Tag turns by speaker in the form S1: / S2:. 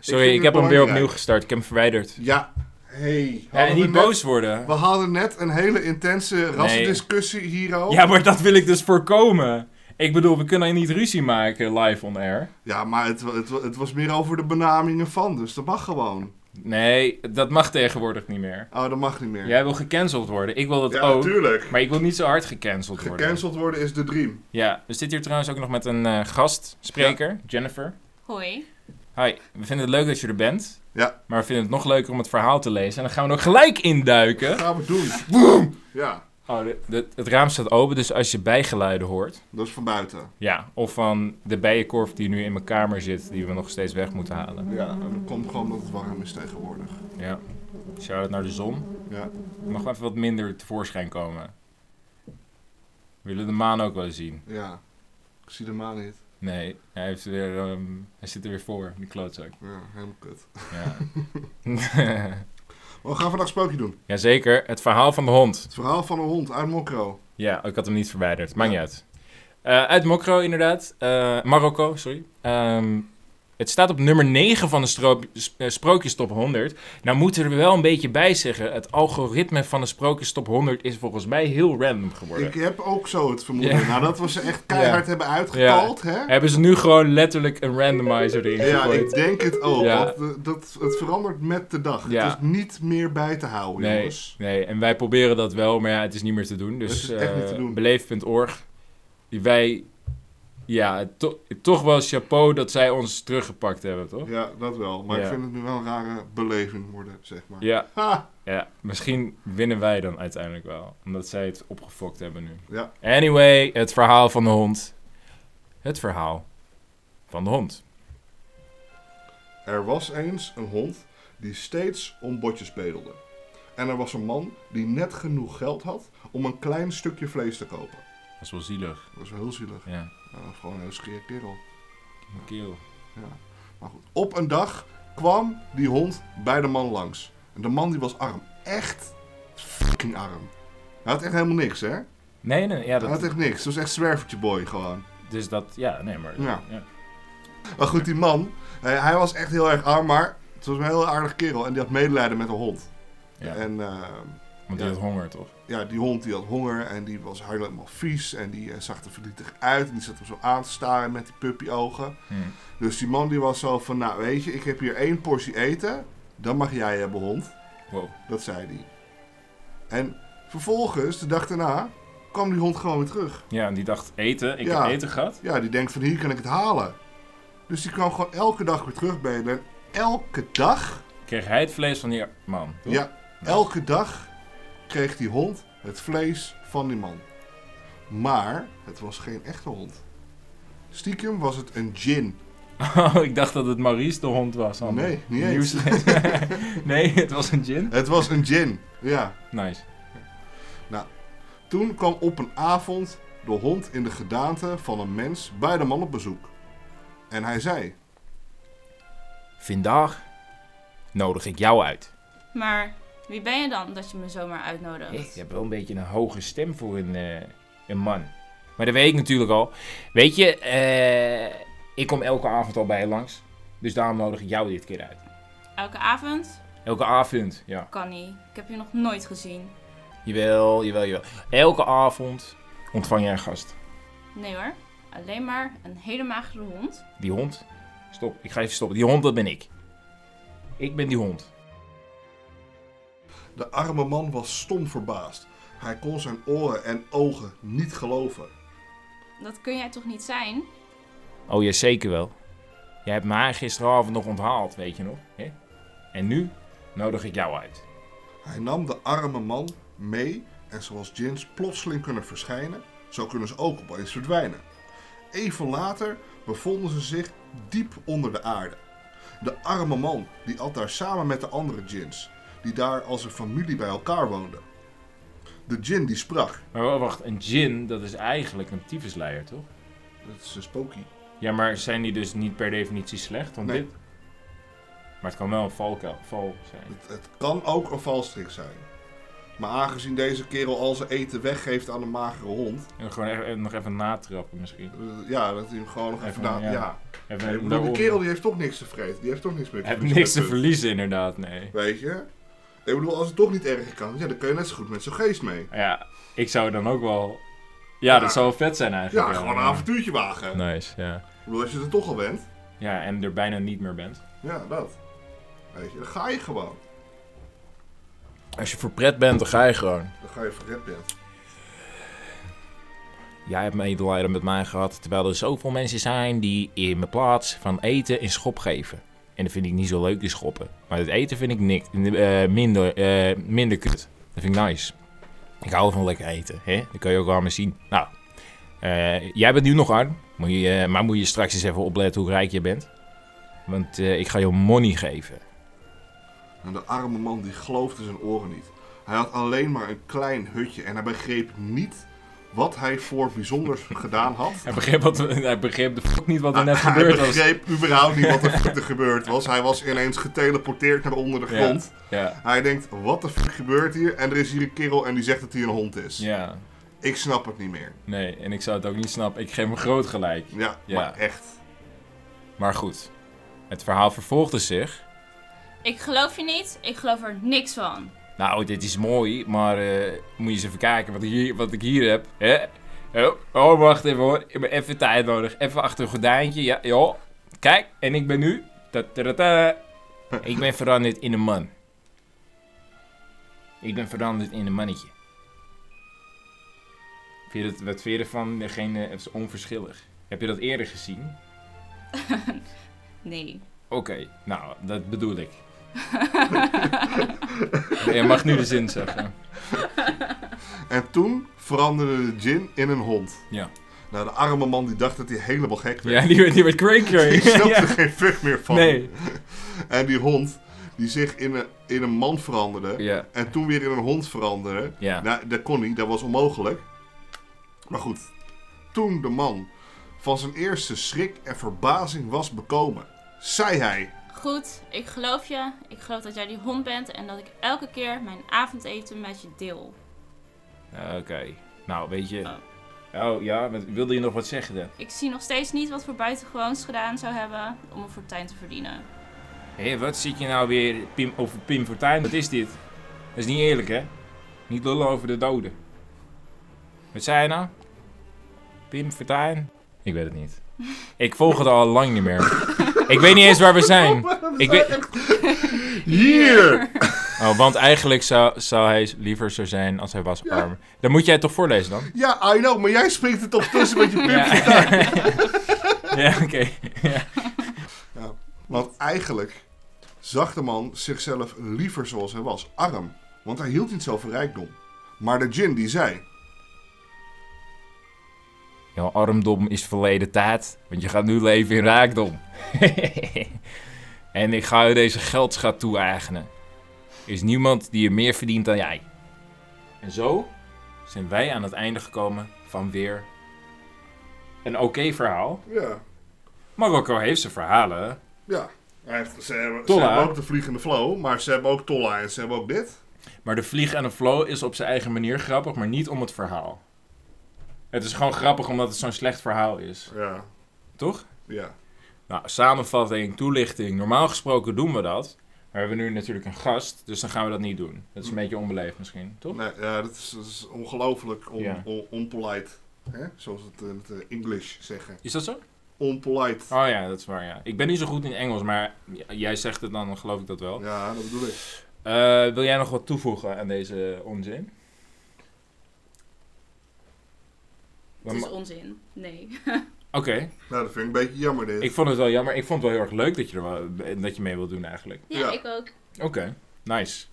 S1: Sorry, ik,
S2: vind
S1: heb
S2: het
S1: hem weer opnieuw
S2: belangrijk.
S1: gestart. Ik heb hem verwijderd.
S2: Ja, hey.
S1: Ja, en
S2: Hadden we
S1: niet
S2: net-
S1: boos worden.
S2: We hadden net een hele intense rassendiscussie hier al.
S1: Ja, maar dat wil ik dus voorkomen. Ik bedoel, we kunnen niet ruzie maken live on air.
S2: Ja, maar het, wa- het, wa- het was meer over de benamingen van, dus dat mag gewoon.
S1: Nee, dat mag tegenwoordig niet meer.
S2: Oh, dat mag niet meer.
S1: Jij wil gecanceld worden. Ik wil dat
S2: Ja,
S1: ook.
S2: natuurlijk.
S1: Maar ik wil niet zo hard gecanceld worden.
S2: Gecanceld worden is de dream.
S1: Ja, we zitten hier trouwens ook nog met een eh, gastspreker, Jennifer.
S3: Hoi.
S1: Hi, we vinden het leuk dat je er bent.
S2: Ja.
S1: Maar we vinden het nog leuker om het verhaal te lezen. En dan gaan we er ook gelijk induiken.
S2: Dat gaan we doen. Ja,
S1: Oh, de- de- het raam staat open, dus als je bijgeluiden hoort.
S2: dat is van buiten.
S1: Ja, of van de bijenkorf die nu in mijn kamer zit, die we nog steeds weg moeten halen.
S2: Ja, en dat komt gewoon omdat het warm is tegenwoordig.
S1: Ja. Shout-out naar de zon.
S2: Ja.
S1: Mag wel even wat minder tevoorschijn komen. We willen de maan ook wel eens zien.
S2: Ja. Ik zie de maan niet.
S1: Nee, hij, heeft weer, ehm, hij zit er weer voor, die klootzak.
S2: Ja, helemaal kut.
S1: Ja.
S2: Maar we gaan vandaag een sprookje doen.
S1: Jazeker, het verhaal van de hond.
S2: Het verhaal van een hond uit Mokro.
S1: Ja, ik had hem niet verwijderd. Maakt niet uit. Eh, uit Mokro, inderdaad. Eh, Marokko, sorry. Ehm, het staat op nummer 9 van de stroop- s- eh, Sprookjes Top 100. Nou moeten we er wel een beetje bij zeggen... het algoritme van de Sprookjes Top 100 is volgens mij heel random geworden.
S2: Ik heb ook zo het vermoeden.
S1: Ja.
S2: Nadat we ze echt keihard
S1: Ja.
S2: hebben uitgetald, hè?
S1: Hebben ze nu gewoon letterlijk een randomizer erin
S2: Ja,
S1: gegooid?
S2: ik denk het ook.
S1: Ja.
S2: Want eh, dat, het verandert met de dag.
S1: Ja.
S2: Het is niet meer bij te houden,
S1: Nee,
S2: jongens.
S1: nee, en wij proberen dat wel, maar ja, het is niet meer te doen. Dus
S2: Het is echt
S1: eh,
S2: niet te doen.
S1: beleef.org, die wij, ja, to- toch wel chapeau dat zij ons teruggepakt hebben, toch?
S2: Ja, dat wel. Maar
S1: Ja.
S2: ik vind het nu wel een rare beleving worden, zeg maar.
S1: Ja,
S2: Ha!
S1: ja, misschien winnen wij dan uiteindelijk wel, omdat zij het opgefokt hebben nu.
S2: Ja.
S1: Anyway, het verhaal van de hond. Het verhaal van de hond.
S2: Er was eens een hond die steeds om botjes bedelde. En er was een man die net genoeg geld had om een klein stukje vlees te kopen.
S1: Dat is wel zielig.
S2: Dat is wel heel zielig.
S1: Ja,
S2: Nou, gewoon een heel skeer kerel.
S1: mijn keel.
S2: Ja. Maar goed, op een dag kwam die hond bij de man langs. En de man die was arm. Echt fucking arm. Hij had echt helemaal niks, hè?
S1: Nee, nee, ja,
S2: Hij had
S1: dat,
S2: echt niks. Het was echt zwervertje boy gewoon.
S1: dus dat, ja, nee, maar...
S2: Ja.
S1: ja.
S2: Maar goed, die man, eh, hij was echt heel erg arm, maar het was een heel aardig kerel. En die had medelijden met de hond.
S1: Ja,
S2: En eh,
S1: want die
S2: ja.
S1: had honger, toch?
S2: ja, die hond die had honger en die was helemaal vies. En die eh, zag er verdrietig uit en die zat hem zo aan te staren met die puppyogen.
S1: Hm.
S2: Dus die man die was zo van, nou weet je, ik heb hier één portie eten. Dan mag jij hebben, hond.
S1: Wow.
S2: Dat zei hij. En vervolgens, de dag daarna, kwam die hond gewoon weer terug.
S1: Ja, en die dacht, eten, ik
S2: Ja.
S1: heb eten gehad.
S2: Ja, die denkt van hier kan ik het halen. Dus die kwam gewoon elke dag weer terug bij En elke dag,
S1: kreeg hij het vlees van die man. toch?
S2: ja, elke dag kreeg die hond het vlees van die man. Maar het was geen echte hond. Stiekem was het een gin.
S1: Oh, ik dacht dat het Maurice de hond was. Ander.
S2: Nee, niet eens.
S1: Nieuws- nee, het was een gin.
S2: Het was een gin, ja.
S1: Nice.
S2: Toen kwam op een avond de hond in de gedaante van een mens bij de man op bezoek. En hij zei,
S1: Vandaag nodig ik jou uit.
S3: Maar wie ben je dan dat je me zomaar uitnodigt?
S1: Ik heb wel een beetje een hoge stem voor een, eh, een man. Maar dat weet ik natuurlijk al. Weet je, eh, ik kom elke avond al bij je langs. Dus daarom nodig ik jou dit keer uit.
S3: Elke avond?
S1: Elke avond, ja.
S3: Kan niet. Ik heb je nog nooit gezien.
S1: Jawel, jawel, jawel. Elke avond ontvang jij een gast.
S3: Nee hoor. Alleen maar een hele magere hond.
S1: Die hond. Stop, ik ga even stoppen. Die hond, dat ben ik. Ik ben die hond.
S2: De arme man was stom verbaasd. Hij kon zijn oren en ogen niet geloven.
S3: Dat kun jij toch niet zijn?
S1: Oh ja, zeker wel. Jij hebt mij gisteravond nog onthaald, weet je nog? Hè? En nu nodig ik jou uit.
S2: Hij nam de arme man mee en zoals gins plotseling kunnen verschijnen, zo kunnen ze ook opeens verdwijnen. Even later bevonden ze zich diep onder de aarde. De arme man die at daar samen met de andere gins, die daar als een familie bij elkaar woonden. De gin die sprak.
S1: Maar wa- wacht, een djinn, dat is eigenlijk een tyfusleier, toch?
S2: Dat is een spooky.
S1: Ja, maar zijn die dus niet per definitie slecht? Want
S2: Nee.
S1: dit... Maar het kan wel een valkuil, val zijn.
S2: Het, het kan ook een valstrik zijn. Maar aangezien deze kerel al zijn eten weggeeft aan een magere hond.
S1: En gewoon e- nog even natrappen misschien.
S2: eh, Ja, dat hij hem gewoon nog even.
S1: Even,
S2: na-
S1: ja.
S2: ja.
S1: Even
S2: Nee, ik bedoel, die
S1: daaronder.
S2: kerel die heeft toch niks te vreten. Die heeft toch niks meer
S1: Hij heeft niks te verliezen inderdaad, nee.
S2: Weet je? Ik bedoel, als het toch niet erger kan, ja, dan kun je net zo goed met zo'n geest mee.
S1: Ja, ik zou dan ook wel... Ja,
S2: Ja.
S1: dat zou wel vet zijn eigenlijk.
S2: Ja, gewoon een
S1: maar-
S2: avontuurtje wagen.
S1: Nice, ja.
S2: Ik bedoel, als je er toch al bent.
S1: Ja, en er bijna niet meer bent.
S2: Ja, dat. Weet je, dan ga je gewoon.
S1: Als je voor pret bent, dan ga je gewoon.
S2: Dan ga je verred bent.
S1: Jij hebt medelijden met mij gehad, terwijl er zoveel mensen zijn die in mijn plaats van eten in schop geven. En dat vind ik niet zo leuk, die schoppen. Maar het eten vind ik niks, eh, minder, eh, minder kut. Dat vind ik nice. Ik hou van lekker eten, hè? Dat kun je ook allemaal zien. Nou, eh, jij bent nu nog arm, moet je, eh, maar moet je straks eens even opletten hoe rijk je bent. Want eh, ik ga je money geven.
S2: En de arme man die geloofde zijn oren niet. Hij had alleen maar een klein hutje en hij begreep niet wat hij voor bijzonders gedaan had.
S1: Hij begreep, wat, hij begreep de fuck niet wat er net
S2: Ah, hij
S1: gebeurd was.
S2: begreep überhaupt niet wat er fuck er gebeurd was. Hij was ineens geteleporteerd naar onder de
S1: Ja.
S2: grond.
S1: Ja,
S2: Hij denkt, wat de fuck gebeurt hier? En er is hier een kerel en die zegt dat hij een hond is.
S1: ja.
S2: Ik snap het niet meer.
S1: Nee, en ik zou het ook niet snappen. Ik geef hem groot gelijk.
S2: Ja,
S1: Ja.
S2: maar echt.
S1: Maar goed, het verhaal vervolgde zich.
S3: Ik geloof je niet, ik geloof er niks van.
S1: Nou, dit is mooi, maar eh, moet je eens even kijken wat, hier, wat ik hier heb. Hè? Oh, oh, wacht even hoor. Ik heb even tijd nodig. Even achter een gordijntje. Ja, joh. Kijk, en ik ben nu... ta- ta- ta- ta. Ik ben veranderd in een man. Ik ben veranderd in een mannetje. Vind je dat, wat vind je ervan? Degene het is onverschillig. Heb je dat eerder gezien?
S3: Nee.
S1: Oké, nou, dat bedoel ik. Je mag nu de zin zeggen.
S2: En toen veranderde de gin in een hond.
S1: Ja.
S2: Nou, de arme man die dacht dat hij helemaal gek werd.
S1: Ja, die werd, die werd cranky.
S2: Ik snap
S1: Ja.
S2: er geen fuck meer van.
S1: Nee.
S2: En die hond, die zich in een, in een man veranderde.
S1: Ja.
S2: En toen weer in een hond veranderde.
S1: Ja.
S2: Nou, dat kon niet, dat was onmogelijk. Maar goed, toen de man van zijn eerste schrik en verbazing was bekomen, zei hij:
S3: Goed, ik geloof je. Ik geloof dat jij die hond bent en dat ik elke keer mijn avondeten met je deel.
S1: Oké. Nou, weet je. Oh ja, wat- wilde je nog wat zeggen dan?
S3: Ik zie nog steeds niet wat voor buitengewoons gedaan zou hebben om een fortuin te verdienen.
S1: Hé, wat zit je nou weer Pim, over Pim Fortuyn? Wat is dit? Dat is niet eerlijk, hè? Niet lullen over de doden. Wat zei je nou? Pim Fortuyn? Ik weet het niet. Ik volg het al lang niet meer. Ik weet niet eens waar we zijn. Ik weet...
S2: Hier!
S1: Oh, want eigenlijk zou, zou hij liever zo zijn als hij was arm. Dan moet jij het toch voorlezen dan?
S2: Ja, I know, maar jij springt er toch tussen met je pimp.
S1: Ja, ja oké. Ja.
S2: Want eigenlijk zag de man zichzelf liever zoals hij was, arm. Want hij hield niet zo van rijkdom. Maar de djinn die zei:
S1: Jouw armdom is verleden tijd, want je gaat nu leven in raakdom. en ik ga je deze geldschat toe-eigenen. Er is niemand die er meer verdient dan jij. En zo zijn wij aan het einde gekomen van weer een oké verhaal.
S2: Ja,
S1: Marokko heeft zijn verhalen.
S2: ja. Hij heeft, ze, hebben, ze
S1: Tolla.
S2: hebben ook de vliegende flow, maar ze hebben ook Tolla en ze hebben ook dit.
S1: Maar de vlieg en de flow is op zijn eigen manier grappig, maar niet om het verhaal. Het is gewoon grappig omdat het zo'n slecht verhaal is.
S2: Ja,
S1: Toch?
S2: ja.
S1: Nou, samenvatting, toelichting. Normaal gesproken doen we dat. Maar we hebben nu natuurlijk een gast, dus dan gaan we dat niet doen. Dat is een beetje onbeleefd misschien, toch?
S2: Nee, ja dat is, dat is ongelooflijk on,
S1: Ja.
S2: on- onpolite. Hè? Zoals het in het eh, English zeggen.
S1: Is dat zo?
S2: Onpolite.
S1: Oh ja, dat is waar, ja. Ik ben niet zo goed in Engels, maar j- jij zegt het dan, dan geloof ik dat wel.
S2: Ja, dat bedoel ik.
S1: Eh, wil jij nog wat toevoegen aan deze onzin?
S3: Het
S1: Dan
S3: is
S1: ma- Oké,
S3: onzin. Nee.
S2: Nou, dat vind ik een beetje jammer dit.
S1: ik vond het wel jammer. Ik vond het wel heel erg leuk dat je, er wel, dat je mee wil doen eigenlijk.
S3: Ja,
S2: Ja.
S3: ik ook.
S1: Oké, nice. Eh,